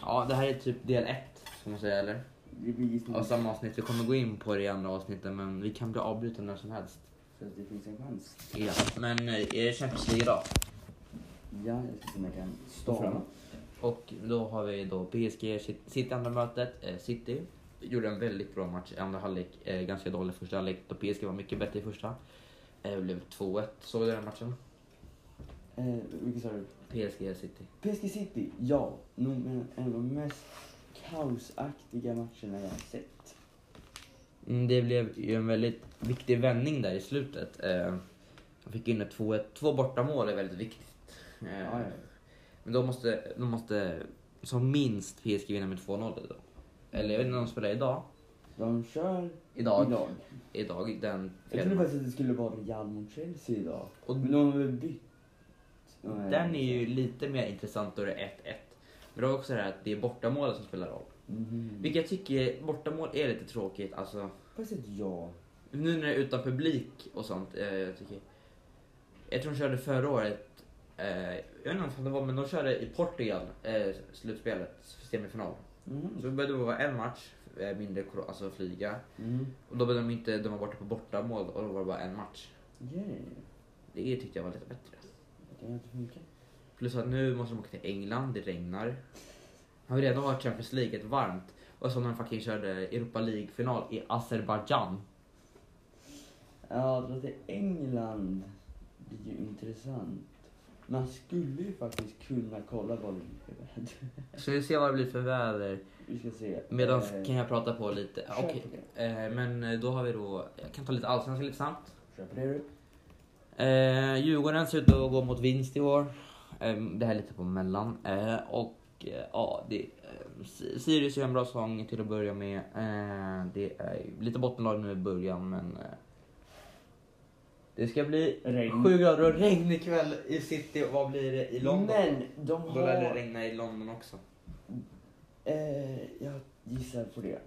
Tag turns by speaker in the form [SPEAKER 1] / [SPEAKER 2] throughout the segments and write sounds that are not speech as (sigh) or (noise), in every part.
[SPEAKER 1] Ja, det här är typ del ett, ska man säga eller?
[SPEAKER 2] Det blir gissning.
[SPEAKER 1] Av samma avsnitt. Vi kommer gå in på det i andra avsnitten men vi kan bli avbrutna när som helst.
[SPEAKER 2] Så att det finns en chans.
[SPEAKER 1] Ja, men eh, är det Champions League idag?
[SPEAKER 2] Ja, jag ska se om jag kan stå
[SPEAKER 1] Stå.
[SPEAKER 2] fram.
[SPEAKER 1] Och då har vi då PSG, City- City andra mötet, eh, City. Gjorde en väldigt bra match i andra halvlek, eh, ganska dålig första halvlek då PSG var mycket bättre i första. Eh, Det blev 2-1, såg du den matchen?
[SPEAKER 2] Eh, vilken sa du?
[SPEAKER 1] PSG, City.
[SPEAKER 2] PSG City, ja. Nog men en av de mest kaosaktiga matcherna jag har sett.
[SPEAKER 1] Mm, Det blev ju en väldigt viktig vändning där i slutet. Eh, De fick in ett 2-1, två bortamål är väldigt viktigt. Eh,
[SPEAKER 2] Ja, ja.
[SPEAKER 1] Men då måste, då måste som minst PSG vinna med 2-0 då. Eller jag vet inte om de spelar idag.
[SPEAKER 2] De kör
[SPEAKER 1] Idag.
[SPEAKER 2] idag.
[SPEAKER 1] Idag, den
[SPEAKER 2] Jag trodde faktiskt att det skulle vara Real mot Chelsea idag.
[SPEAKER 1] Och
[SPEAKER 2] Men de har väl bytt? Nej,
[SPEAKER 1] Den är ju lite mer intressant då det är 1-1. Men det är också det här att det är bortamålet som spelar roll.
[SPEAKER 2] Mhm.
[SPEAKER 1] Vilket jag tycker, bortamål är lite tråkigt. Alltså,
[SPEAKER 2] Fast ett ja.
[SPEAKER 1] nu när det är utan publik och sånt. Eh, jag, tycker, jag tror de körde förra året, eh, jag vet inte om det var, men de körde i Portugal, eh, slutspelet, semifinal. Så
[SPEAKER 2] Mhm.
[SPEAKER 1] det började vara en match, eh, mindre kor- alltså flyga.
[SPEAKER 2] Mhm.
[SPEAKER 1] Och då började de inte döma borta på bortamål och då var det bara en match.
[SPEAKER 2] Yeah.
[SPEAKER 1] Det tyckte jag var lite bättre.
[SPEAKER 2] Det har inte funkat.
[SPEAKER 1] Plus att nu måste de åka till England, det regnar. Har vi redan varit Champions League, ett varmt. Och så när de fucking körde Europa League-final i Azerbaijan.
[SPEAKER 2] Ja, att dra till England blir ju intressant. Man skulle ju faktiskt kunna kolla vad det (laughs) blir för väder.
[SPEAKER 1] Så vi ser vad det blir för väder.
[SPEAKER 2] Vi ska se.
[SPEAKER 1] Medan
[SPEAKER 2] Eh,
[SPEAKER 1] kan jag prata på lite.
[SPEAKER 2] kör
[SPEAKER 1] Okej,
[SPEAKER 2] på
[SPEAKER 1] eh, men då har vi då, jag kan ta lite allsvenskan lite snabbt.
[SPEAKER 2] Kör på det du.
[SPEAKER 1] Eh, Djurgården ser ut att gå mot vinst i år. Eh, det här är lite på mellan. Eh, och eh, ja, det, eh, Si- Sirius gör en bra säsong till att börja med. Eh, det är ju lite bottenlag nu i början men... Eh, det ska bli
[SPEAKER 2] Regn.
[SPEAKER 1] 7 grader och regn ikväll i city och vad blir det i London?
[SPEAKER 2] Men de
[SPEAKER 1] Då lär det
[SPEAKER 2] har...
[SPEAKER 1] regna i London också.
[SPEAKER 2] Eh, jag gissar på det.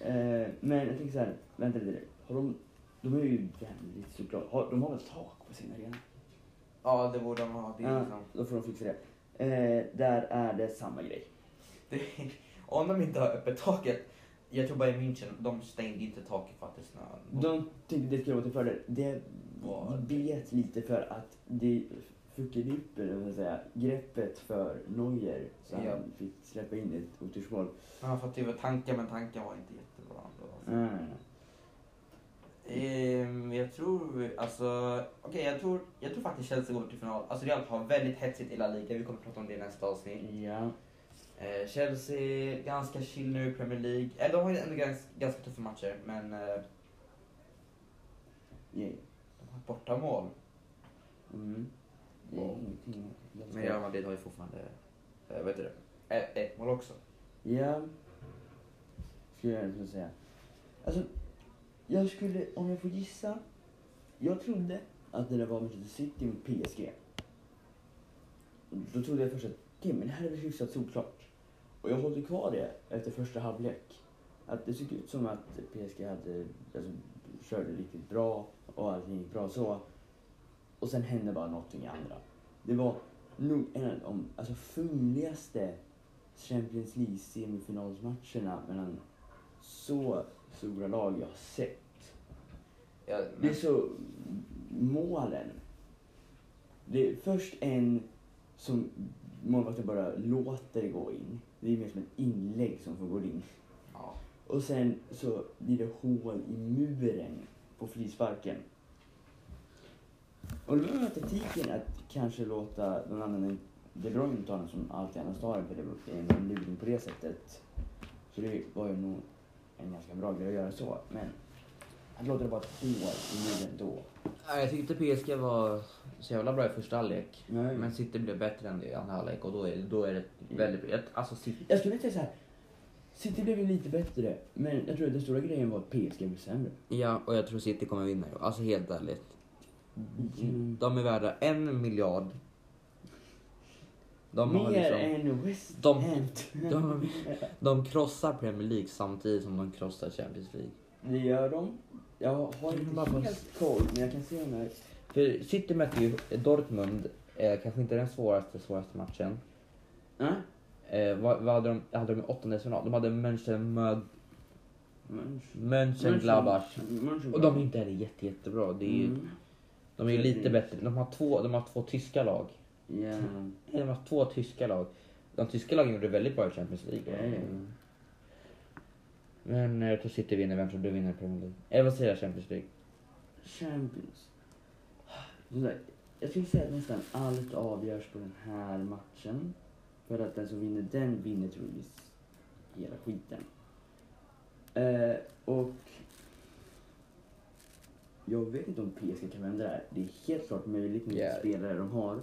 [SPEAKER 2] Eh, men jag tänker så här, vänta lite nu. Har de... De är ju jävligt såklart. Har, de har väl tak på sin arena?
[SPEAKER 1] Ja det liksom- borde de ha.
[SPEAKER 2] Ja, då får de fixa det. Eh, där är det samma grej.
[SPEAKER 1] (laughs) om de inte har öppet taket. Jag tror bara i München, de stängde inte taket för att det snöade.
[SPEAKER 2] De tyckte det skulle vara till fördel. Det
[SPEAKER 1] Vad?
[SPEAKER 2] bet lite för att det fuckade upp säga, greppet för Neuer så
[SPEAKER 1] Ja.
[SPEAKER 2] han fick släppa in ett otursmål.
[SPEAKER 1] Ja, för att det var tanken, men tanken var inte jättebra ändå.
[SPEAKER 2] Nej, nej, nej.
[SPEAKER 1] Ehm, jag tror, alltså, okej jag, tror, jag tror faktiskt Chelsea går till final. Alltså Real har väldigt hetsigt i La Liga, vi kommer prata om det i nästa avsnitt.
[SPEAKER 2] Ja.
[SPEAKER 1] Eh, Chelsea, ganska chill nu i Premier League. Eller de har ju ändå ganska, ganska tuffa matcher, men eh,
[SPEAKER 2] Yeah.
[SPEAKER 1] de har ett bortamål.
[SPEAKER 2] Mm. Det är
[SPEAKER 1] Ja.
[SPEAKER 2] ingenting.
[SPEAKER 1] Men Real Madrid har ju fortfarande, eh, vad heter det, eh, ett mål också.
[SPEAKER 2] Ja. Skulle jag ändå säga. Alltså, jag skulle, om jag får gissa. Jag trodde att det där var Manchester City mot PSG. Då trodde jag först att okej, men det här är väl hyfsat solklart. Och jag håller kvar det efter första halvlek. Att det såg ut som att PSG hade, alltså, körde riktigt bra och allting gick bra så. Och sen hände bara någonting i andra. Det var nog en av de alltså, fumligaste Champions League-semifinalsmatcherna mellan så stora lag jag har sett.
[SPEAKER 1] Ja,
[SPEAKER 2] Det är
[SPEAKER 1] men,
[SPEAKER 2] så målen. Det är först en som målvakten bara låter gå in. Det är mer som ett inlägg som får gå in.
[SPEAKER 1] ja.
[SPEAKER 2] Och sen så blir det hål i muren på frisparken. Och då var taktiken att kanske låta någon annan än De Bruyne ta den som alltid annars tar den för det är en luring på det sättet. Så det var ju nog en ganska bra grej att göra så. Men att låta det vara ett hål i muren då.
[SPEAKER 1] Nej, Jag tyckte PSG var så jävla bra i första halvlek.
[SPEAKER 2] Nej.
[SPEAKER 1] Men City blev bättre än det i andra halvlek och då är, då är det väldigt... jag- Alltså City...
[SPEAKER 2] Jag skulle säga så här. City blev ju lite bättre, men jag tror att den stora grejen var att PSG blev sämre.
[SPEAKER 1] Ja, och jag tror City kommer vinna. i år. Alltså helt ärligt.
[SPEAKER 2] Mm.
[SPEAKER 1] De är värda en miljard. De har
[SPEAKER 2] Mer
[SPEAKER 1] liksom...
[SPEAKER 2] än West
[SPEAKER 1] De-
[SPEAKER 2] Ham.
[SPEAKER 1] De,
[SPEAKER 2] (laughs)
[SPEAKER 1] de krossar Premier League samtidigt som de krossar Champions League.
[SPEAKER 2] Det gör de. Jag har
[SPEAKER 1] Mm, bara
[SPEAKER 2] inte
[SPEAKER 1] för-
[SPEAKER 2] helt koll, men jag kan se om jag...
[SPEAKER 1] För City mötte ju Dortmund, eh, kanske inte den svåraste, svåraste matchen.
[SPEAKER 2] Nej,
[SPEAKER 1] Eh, vad, vad hade de, hade de i åttondelsfinal? De hade München, Mö-
[SPEAKER 2] Mönch-
[SPEAKER 1] Mönchengladbach.
[SPEAKER 2] Mönchengladbach.
[SPEAKER 1] Och de är inte heller jätte, jättebra. Det är, ju-
[SPEAKER 2] Mm.
[SPEAKER 1] De är ju lite bättre. De har två, de har två tyska lag.
[SPEAKER 2] Ja.
[SPEAKER 1] De har två tyska lag. De tyska lagen gjorde väldigt bra i Champions League. va?
[SPEAKER 2] Ja, ja.
[SPEAKER 1] Men eh, jag tror City vinner. Vem tror du vinner Premier League? Eller vad säger jag? Champions League?
[SPEAKER 2] Champions. Sådär. Jag skulle säga att nästan allt avgörs på den här matchen. För att den som vinner den vinner troligtvis hela skiten. Eh, och... Jag vet inte om PSG kan vända det här. Det är helt klart möjligt med
[SPEAKER 1] Yeah.
[SPEAKER 2] de spelare de har.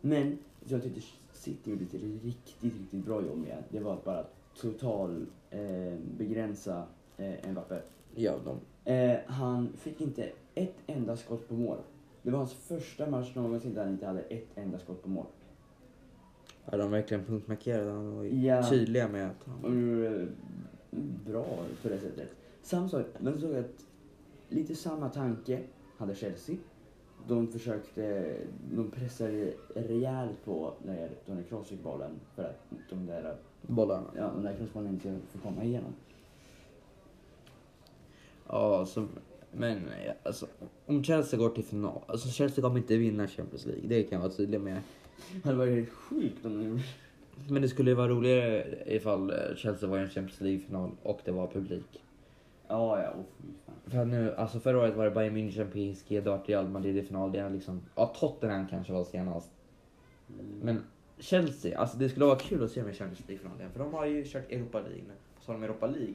[SPEAKER 2] Men jag tyckte City gjorde ett riktigt, riktigt bra jobb med. Det var att bara total eh, begränsa eh, Mbappé.
[SPEAKER 1] Ja, de...
[SPEAKER 2] Eh, han fick inte ett enda skott på mål. Det var hans första match någonsin där han inte hade ett enda skott på mål.
[SPEAKER 1] Ja, de verkligen punktmarkerade honom och
[SPEAKER 2] Ja.
[SPEAKER 1] tydliga med att
[SPEAKER 2] Och
[SPEAKER 1] han...
[SPEAKER 2] det gjorde bra på det sättet. Samma sak, men såg att lite samma tanke hade Chelsea. De försökte, de pressade rejält på när Tony Kroos fick bollen för att de där,
[SPEAKER 1] Bollarna.
[SPEAKER 2] ja, de där crossbollarna inte får komma igenom.
[SPEAKER 1] Ja, så... Men eh, alltså, om Chelsea går till final, alltså Chelsea kommer inte vinna Champions League, det kan jag vara tydlig med.
[SPEAKER 2] Det hade varit helt sjukt om de gjorde
[SPEAKER 1] Men det skulle ju vara roligare ifall eh, Chelsea var i en Champions League-final och det var publik.
[SPEAKER 2] Ja, ja, åh fy fan.
[SPEAKER 1] För att nu, alltså förra året var det Bayern München, PSG, Dart, Real Madrid i final. Det är liksom, ja Tottenham kanske var senast.
[SPEAKER 2] Mm.
[SPEAKER 1] Men Chelsea, alltså det skulle vara kul att se med Champions League-final igen. För de har ju kört Europa League nu. Så har de Europa League.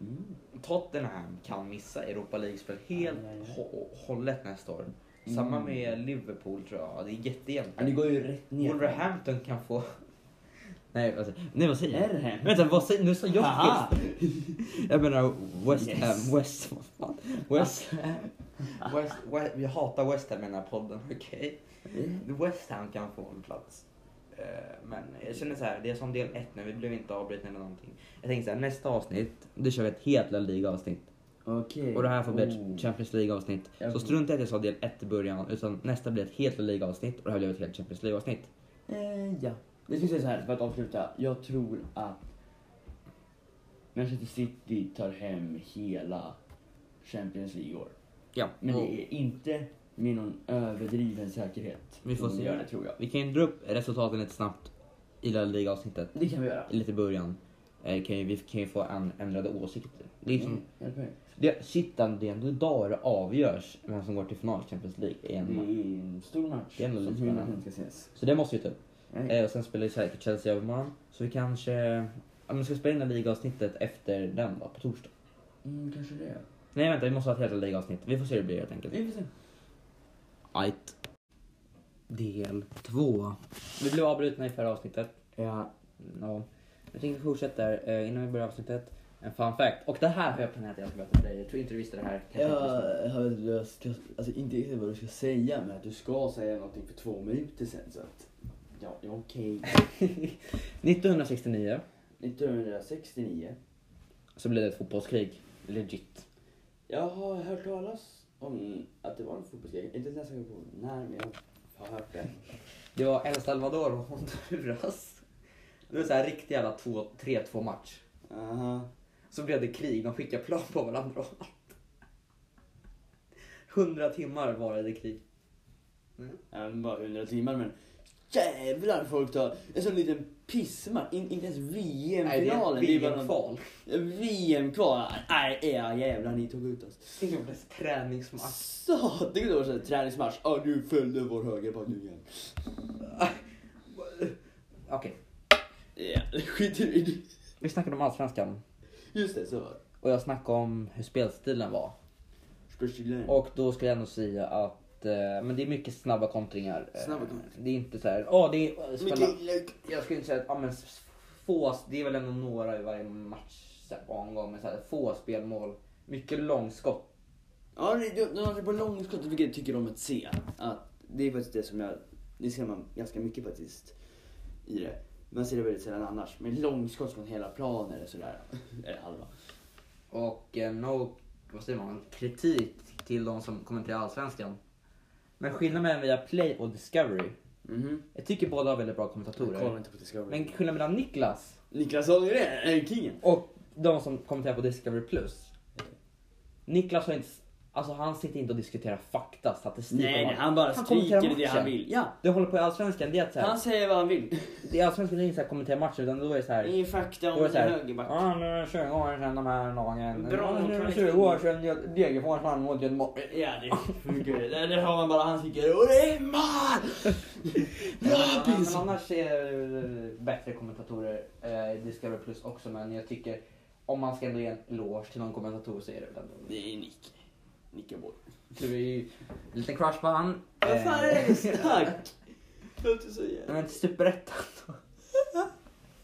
[SPEAKER 2] Mm.
[SPEAKER 1] Tottenham kan missa Europa League-spel helt
[SPEAKER 2] Ja, ja, ja.
[SPEAKER 1] hå- hållet nästa år. Samma med Liverpool tror jag. Det är jättejämnt.
[SPEAKER 2] Ja, det går ju rätt ner.
[SPEAKER 1] Wolverhampton kan få... (laughs) Nej, alltså, nej vad säger jag?
[SPEAKER 2] Erhem.
[SPEAKER 1] Vänta, vad säger Nu sa jag
[SPEAKER 2] Haha.
[SPEAKER 1] fel. Jag menar West
[SPEAKER 2] Yes.
[SPEAKER 1] Ham, West... Vad fan? West Ham. West, West, jag hatar West Ham i den här podden, (laughs) okej? West Ham kan få en plats. Eh, Men jag känner så här, det är som del ett nu, vi blev inte avbrutna eller någonting. Jag tänker så här, nästa avsnitt, då kör vi ett helt La Liga-avsnitt.
[SPEAKER 2] Okej.
[SPEAKER 1] Och det här får bli
[SPEAKER 2] Oh.
[SPEAKER 1] ett Champions League-avsnitt.
[SPEAKER 2] Jag-
[SPEAKER 1] Så strunta i att jag sa del ett i början, utan nästa blir ett helt La Liga-avsnitt och det här blir ett helt Champions League-avsnitt.
[SPEAKER 2] Eh, ja. Jag skulle säga så här för att avsluta. Jag tror att Manchester City tar hem hela Champions League i år.
[SPEAKER 1] Ja,
[SPEAKER 2] Men
[SPEAKER 1] och-
[SPEAKER 2] det är inte med någon överdriven säkerhet.
[SPEAKER 1] Vi får
[SPEAKER 2] som
[SPEAKER 1] se.
[SPEAKER 2] de gör det tror jag.
[SPEAKER 1] Vi kan ju dra upp resultaten lite snabbt i La Liga-avsnittet.
[SPEAKER 2] Det kan vi göra.
[SPEAKER 1] Lite i början. Eh, kan ju, vi kan ju få en, ändrade åsikter. Det är liksom,
[SPEAKER 2] Mm, hjälp mig.
[SPEAKER 1] det, shit, det är ändå idag det avgörs vem som går till final i Champions League i en
[SPEAKER 2] Det
[SPEAKER 1] match.
[SPEAKER 2] är en stor match.
[SPEAKER 1] Det är ändå
[SPEAKER 2] som
[SPEAKER 1] lite
[SPEAKER 2] hur
[SPEAKER 1] spännande.
[SPEAKER 2] man ska ses.
[SPEAKER 1] Så det måste vi ta upp.
[SPEAKER 2] Nej.
[SPEAKER 1] Eh, och sen spelar ju säkert Chelsea övermorgon. Så vi kanske... Ja, men ska vi spela in La Liga-avsnittet efter den då, på torsdag?
[SPEAKER 2] Mm, kanske det.
[SPEAKER 1] Nej vänta, vi måste ha ett helt La Liga-avsnitt. Vi får se hur det blir helt enkelt.
[SPEAKER 2] Vi får se.
[SPEAKER 1] Ajt. Del två. Vi blev avbrutna i förra avsnittet.
[SPEAKER 2] Ja.
[SPEAKER 1] Ja. Jag tänkte fortsätta där, eh, innan vi börjar avsnittet. En fun fact. Och det här har jag planerat att jag ska berätta för dig. Jag tror inte du visste det här. Kanske inte visste.
[SPEAKER 2] Jag har inte jag ska, alltså inte riktigt vad du ska säga men att du ska säga någonting för två minuter sen så att... Ja, det är okej.
[SPEAKER 1] (laughs) 1969
[SPEAKER 2] 1969.
[SPEAKER 1] så blev det ett fotbollskrig. Legit.
[SPEAKER 2] Jag har hört talas om att det var en fotbollskrig. Inte nästan jag på när, men jag har hört det.
[SPEAKER 1] Det var El Salvador och Honduras. Det var så här riktig jävla 2 3-2 match.
[SPEAKER 2] Aha.
[SPEAKER 1] Så blev det krig. De skickade plan på varandra och allt. 100 timmar var det krig.
[SPEAKER 2] Även bara 100 timmar, men jävlar folk tar en sån liten pissmatch. In, inte ens
[SPEAKER 1] Nej, det är
[SPEAKER 2] VM-finalen. någon-
[SPEAKER 1] VM-kval.
[SPEAKER 2] VM-kval. Nej, ja, jävlar ni tog ut oss.
[SPEAKER 1] Det är typ en träningsmatch.
[SPEAKER 2] Så, det var en träningsmatch. Ja, nu följde vår högerback nu igen.
[SPEAKER 1] Okej,
[SPEAKER 2] Ja, skit i det.
[SPEAKER 1] vi snackade om Allsvenskan.
[SPEAKER 2] Just det, så var det.
[SPEAKER 1] Och jag snackade om hur spelstilen var.
[SPEAKER 2] Speciellt.
[SPEAKER 1] Och då skulle jag nog säga att eh, men det är mycket snabba kontringar. Eh,
[SPEAKER 2] Snabba kontringar.
[SPEAKER 1] Det är inte så här, ja det är...
[SPEAKER 2] Mitt
[SPEAKER 1] Spela,
[SPEAKER 2] lilla...
[SPEAKER 1] jag skulle inte säga att, ja men s- få, det är väl ändå några i varje match så här, på omgång, men så här, få spelmål. Mycket långskott.
[SPEAKER 2] Ja, det- de, de håller på långskott, vilket jag tycker om att se. Att det är faktiskt det som jag... Det ser man ganska mycket faktiskt i det. Man ser det väldigt sällan annars. Men långskott från hela planen eller sådär. (laughs) Eller halva.
[SPEAKER 1] Och eh, no, vad säger man, kritik till de som kommenterar Allsvenskan. Men skillnaden mellan via Play och Discovery
[SPEAKER 2] Mhm.
[SPEAKER 1] Jag tycker båda har väldigt bra
[SPEAKER 2] Jag kollar
[SPEAKER 1] kommentatorer.
[SPEAKER 2] inte på Discovery.
[SPEAKER 1] Men skillnaden mellan Niklas
[SPEAKER 2] Niklas Holmgren är kingen.
[SPEAKER 1] och de som kommenterar på Discovery Plus. Niklas har inte... Alltså han sitter inte och diskuterar fakta, statistik.
[SPEAKER 2] Nej,
[SPEAKER 1] om
[SPEAKER 2] nej,
[SPEAKER 1] allt.
[SPEAKER 2] han bara
[SPEAKER 1] kommenterar
[SPEAKER 2] skriker det
[SPEAKER 1] matchen.
[SPEAKER 2] han vill. Ja,
[SPEAKER 1] Det håller på i Allsvenskan, det är att så här,
[SPEAKER 2] han säger vad han vill.
[SPEAKER 1] det är Allsvenskan är inte så här kommentera matcher utan då är det så här...
[SPEAKER 2] Ingen fakta
[SPEAKER 1] Då
[SPEAKER 2] om
[SPEAKER 1] är det
[SPEAKER 2] en
[SPEAKER 1] så här,
[SPEAKER 2] högerback.
[SPEAKER 1] ja nu är det 20 år sedan de här lagen.
[SPEAKER 2] Bra
[SPEAKER 1] Bra, nu är det
[SPEAKER 2] kvalitet.
[SPEAKER 1] 20 år sedan Gö- Degerfors vann mot Göteborg.
[SPEAKER 2] Ja, det funkar. Där, där har man bara han skriker och det är mål!
[SPEAKER 1] Ja, men
[SPEAKER 2] Lappis!
[SPEAKER 1] annars är eh, bättre kommentatorer eh, i Discovery Plus också men jag tycker om man ska ändå ge en eloge till någon kommentator så är det väl ändå...
[SPEAKER 2] Det är Nick. Nick är bort.
[SPEAKER 1] Det är ju lite crush på han.
[SPEAKER 2] Vad fan är det för
[SPEAKER 1] (laughs) Eh,
[SPEAKER 2] snack? Låt oss säga.
[SPEAKER 1] Men Superettan då. (laughs)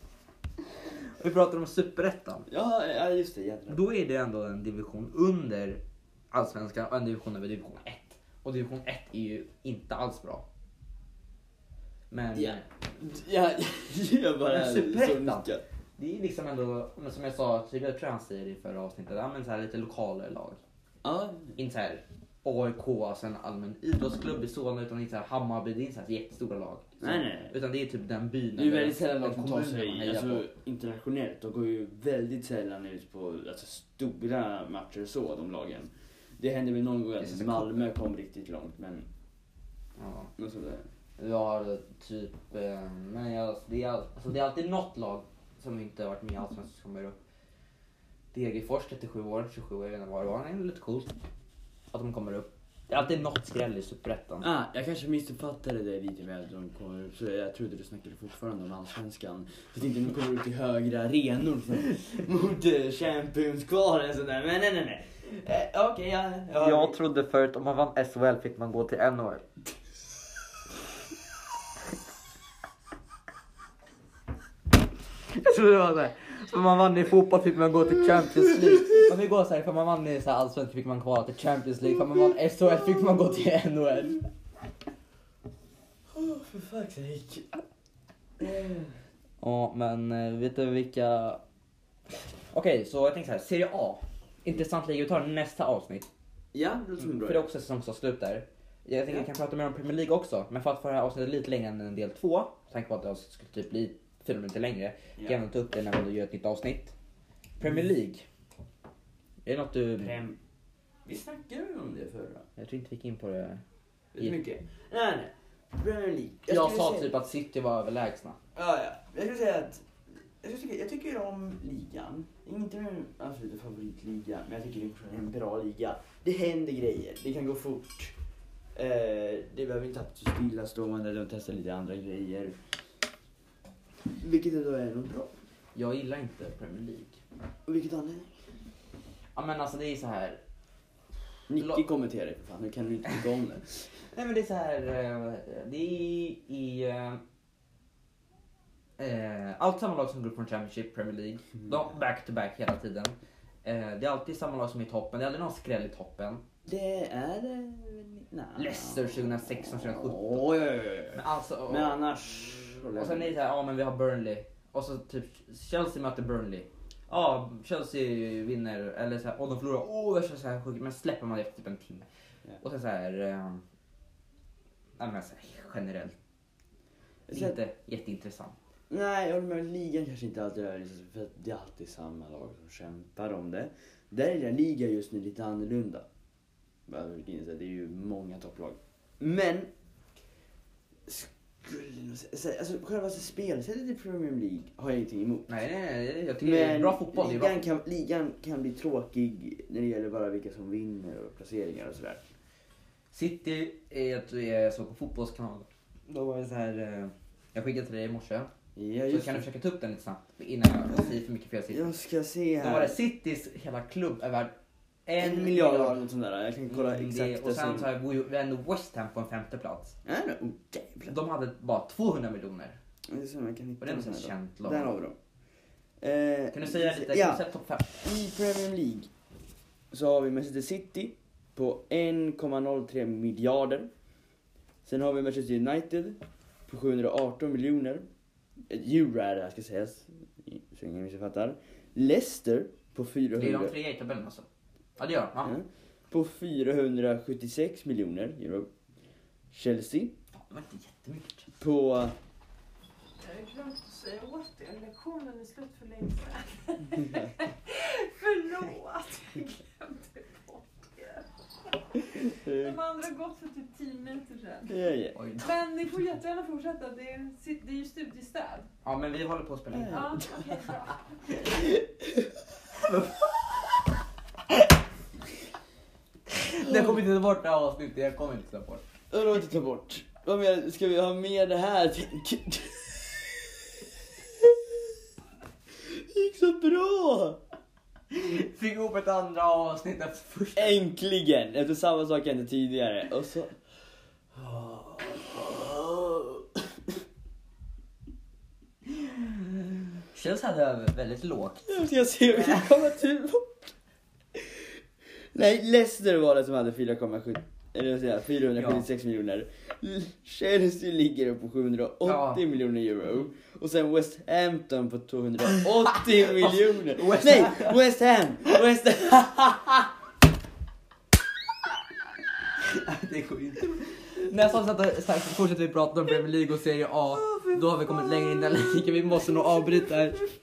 [SPEAKER 1] Vi pratar om Superettan.
[SPEAKER 2] Ja, ja, just det. Jädrar.
[SPEAKER 1] Då är det ändå en division under Allsvenskan och en division över division 1. Och division 1 är ju inte alls bra. Men
[SPEAKER 2] Ja. Ja, (laughs) jag bara
[SPEAKER 1] Men Superettan.
[SPEAKER 2] så nickar.
[SPEAKER 1] det är liksom ändå, men som jag sa tidigare, tror jag han säger i förra avsnittet, ja, men så här lite lokalare lag.
[SPEAKER 2] Ja,
[SPEAKER 1] Inte så här AIK, alltså en allmän idrottsklubb i Solna, utan inte så här Hammarby, det är inte så här jättestora lag.
[SPEAKER 2] Nej, nej.
[SPEAKER 1] Utan det är typ den byn.
[SPEAKER 2] Det är ju
[SPEAKER 1] eller
[SPEAKER 2] väldigt sällan de
[SPEAKER 1] den
[SPEAKER 2] som tar
[SPEAKER 1] kommunen man
[SPEAKER 2] sig
[SPEAKER 1] hejar
[SPEAKER 2] alltså, internationellt. De går ju väldigt sällan ut på alltså, stora matcher och så, de lagen. Det händer väl någon gång
[SPEAKER 1] Det känns
[SPEAKER 2] att
[SPEAKER 1] som
[SPEAKER 2] Malmö kom riktigt långt, men
[SPEAKER 1] på. Ja.
[SPEAKER 2] något sånt där.
[SPEAKER 1] Ja, typ. eh, Men jag, det, är, all- alltså det är alltid något lag som inte har varit med i Allsvenskan som kommer upp. Degerfors 37 år, 27 år redan var det var. Det är lite coolt att de kommer upp. Det är alltid något skräll i Superettan.
[SPEAKER 2] Ah, jag kanske missuppfattade dig lite med att de kommer upp, så jag trodde du snackade fortfarande om Allsvenskan. Jag tänkte nu kommer du upp till högre arenor
[SPEAKER 1] (laughs)
[SPEAKER 2] för, mot eh, Champions-kvalen sådär, men nej nej nej. Eh, Okej, ja, ja.
[SPEAKER 1] trodde förut om man vann SHL fick man gå till NHL. Jag trodde det var såhär, för man vann i fotboll fick man gå till Champions League. Man fick gå såhär, för man vann i så här allsvenskan fick man kvala till Champions League, för man vann SHL fick man gå till NHL.
[SPEAKER 2] Åh, för fuck's sake.
[SPEAKER 1] Ja, men eh, vet du vilka... Okej, så jag tänkte så här. Serie A. Intressant liga. Vi tar nästa avsnitt.
[SPEAKER 2] Ja, det låter som en bra
[SPEAKER 1] För det är också säsongsavslut där. Jag tänker vi kan prata mer om Premier League också. Men för att få det här avsnittet lite längre än en del två. Med tanke på att det avsnittet skulle typ bli fyra minuter längre.
[SPEAKER 2] Ja.
[SPEAKER 1] Kan jag ändå ta upp det när vi gör ett nytt avsnitt. Premier League. Är det något du...
[SPEAKER 2] Prem... Vi snackade ju om det förra.
[SPEAKER 1] Jag tror inte vi gick in på det.
[SPEAKER 2] Vet du mycket? Nej, nej. Premier League.
[SPEAKER 1] Jag,
[SPEAKER 2] skulle
[SPEAKER 1] sa
[SPEAKER 2] säga-
[SPEAKER 1] typ att City var överlägsna.
[SPEAKER 2] Ja, ja. Jag skulle säga att... Jag, skulle tycka, jag tycker om ligan. Inte min absoluta favoritliga, men jag tycker det är en bra liga. Det händer grejer, det kan gå fort. Eh, det behöver inte alltid stå stillastående, de testar lite andra grejer. Vilket ändå är något bra.
[SPEAKER 1] Jag gillar inte Premier League.
[SPEAKER 2] Och vilket anledning?
[SPEAKER 1] Ja men alltså det är så här.
[SPEAKER 2] Nicky
[SPEAKER 1] Lo-
[SPEAKER 2] kommenterar det för fan, nu kan du inte tycka om det.
[SPEAKER 1] Nej men det är så här, eh, det är i... eh, eh, Allt samma lag som går upp från Championship, Premier League.
[SPEAKER 2] Mm.
[SPEAKER 1] De back to back hela tiden. Eh, Det är alltid samma lag som är i toppen, det är aldrig någon skräll i toppen.
[SPEAKER 2] Det är... eh, Nej.
[SPEAKER 1] Leicester 2016, 2017.
[SPEAKER 2] Oj, oj, oj.
[SPEAKER 1] Men alltså... Och,
[SPEAKER 2] Men annars...
[SPEAKER 1] och sen är det så här, ja men vi har Burnley. Och så typ Chelsea möter Burnley. Ja, Chelsea vinner, eller så här, och de förlorar. Åh, oh, värsta så här sjukt. Men släpper man det efter typ en timme.
[SPEAKER 2] Ja.
[SPEAKER 1] Och sen så här... eh, Nej men så här, generellt.
[SPEAKER 2] Jag ser-
[SPEAKER 1] Inte jätteintressant.
[SPEAKER 2] Nej, jag håller med. Ligan kanske inte alltid är liksom, för att det är alltid samma lag som kämpar om det. Där är den ligan just nu lite annorlunda. Behöver inte inse, Det är ju många topplag. Men... Skulle nog sä- säga... Alltså själva spelsättet i Premier League har jag ingenting emot.
[SPEAKER 1] Nej, nej, nej. Jag tycker det är
[SPEAKER 2] Men
[SPEAKER 1] bra fotboll. Det är bra.
[SPEAKER 2] ligan, kan, ligan kan bli tråkig när det gäller bara vilka som vinner och placeringar och sådär.
[SPEAKER 1] City, är, jag tror jag såg på fotbollskanalen. Då var det så här. eh, Jag skickade till dig i morse.
[SPEAKER 2] Ja,
[SPEAKER 1] Så
[SPEAKER 2] just
[SPEAKER 1] kan du
[SPEAKER 2] det.
[SPEAKER 1] försöka ta upp den lite snabbt innan jag säger för mycket fel siffror.
[SPEAKER 2] Jag ska se
[SPEAKER 1] Då var det
[SPEAKER 2] här.
[SPEAKER 1] Citys hela klubb är värd
[SPEAKER 2] En miljard eller något sånt där. Jag kan kolla
[SPEAKER 1] Mm,
[SPEAKER 2] exakt.
[SPEAKER 1] det- Och
[SPEAKER 2] vad
[SPEAKER 1] sen
[SPEAKER 2] som-
[SPEAKER 1] så här, var ju ändå West Ham på en femte plats.
[SPEAKER 2] Nej, nej, oh, jävlar.
[SPEAKER 1] De hade bara 200 miljoner.
[SPEAKER 2] Jag ska se om jag kan hitta
[SPEAKER 1] Och det är
[SPEAKER 2] den
[SPEAKER 1] ett
[SPEAKER 2] här
[SPEAKER 1] känt
[SPEAKER 2] då.
[SPEAKER 1] lag.
[SPEAKER 2] Där har vi dem. Eh,
[SPEAKER 1] Kan du säga lite? Kan du
[SPEAKER 2] Ja,
[SPEAKER 1] säga topp 5?
[SPEAKER 2] i Premier League så har vi Manchester City på 1,03 miljarder. Sen har vi Manchester United på 718 miljoner. Eh, Euro är det här ska sägas, så ingen missuppfattar. Leicester på
[SPEAKER 1] Det är
[SPEAKER 2] 400...
[SPEAKER 1] de trea i tabellen alltså. Ja, det gör de. Ja.
[SPEAKER 2] Ja, på 476 miljoner euro. Chelsea
[SPEAKER 1] var inte jättemycket.
[SPEAKER 2] På...
[SPEAKER 3] Jag har glömt att säga åt er, lektionen är slut för länge sedan. (laughs) Förlåt, jag glömde bort er. De andra har gått för typ 10 minuter sedan.
[SPEAKER 2] Ja, ja.
[SPEAKER 1] Oj.
[SPEAKER 3] Men ni får jättegärna fortsätta, det är, sitt- det är ju studiestäd.
[SPEAKER 1] Ja men vi håller på att spela in.
[SPEAKER 3] Ja, okej, bra.
[SPEAKER 1] Det kommer inte ta bort det här avsnittet, jag kommer inte ta bort.
[SPEAKER 2] Vadå inte ta bort? Vad mer? Ska vi ha med det här? (laughs) tänker du? Det gick så bra!
[SPEAKER 1] Fick ihop ett andra avsnitt efter första.
[SPEAKER 2] Äntligen! Efter samma sak hände tidigare. Och så...
[SPEAKER 1] Känns hade väldigt (laughs) lågt.
[SPEAKER 2] Nu ska jag se om vi kan komma tillbaka. Nej, Leicester var det som hade 4,7 eller vad säger jag, 476 miljoner. Chelsea ligger på 780
[SPEAKER 1] Ja.
[SPEAKER 2] miljoner euro. Och sen West Hampton på 280
[SPEAKER 1] (laughs)
[SPEAKER 2] miljoner.
[SPEAKER 1] West
[SPEAKER 2] Nej, West Ham! West Ham!
[SPEAKER 1] Det går ju inte. Nästa avsnitt så här fortsätter vi prata om Premier League och Serie A. Då har vi kommit längre in i den ligan. Vi måste nog avbryta här.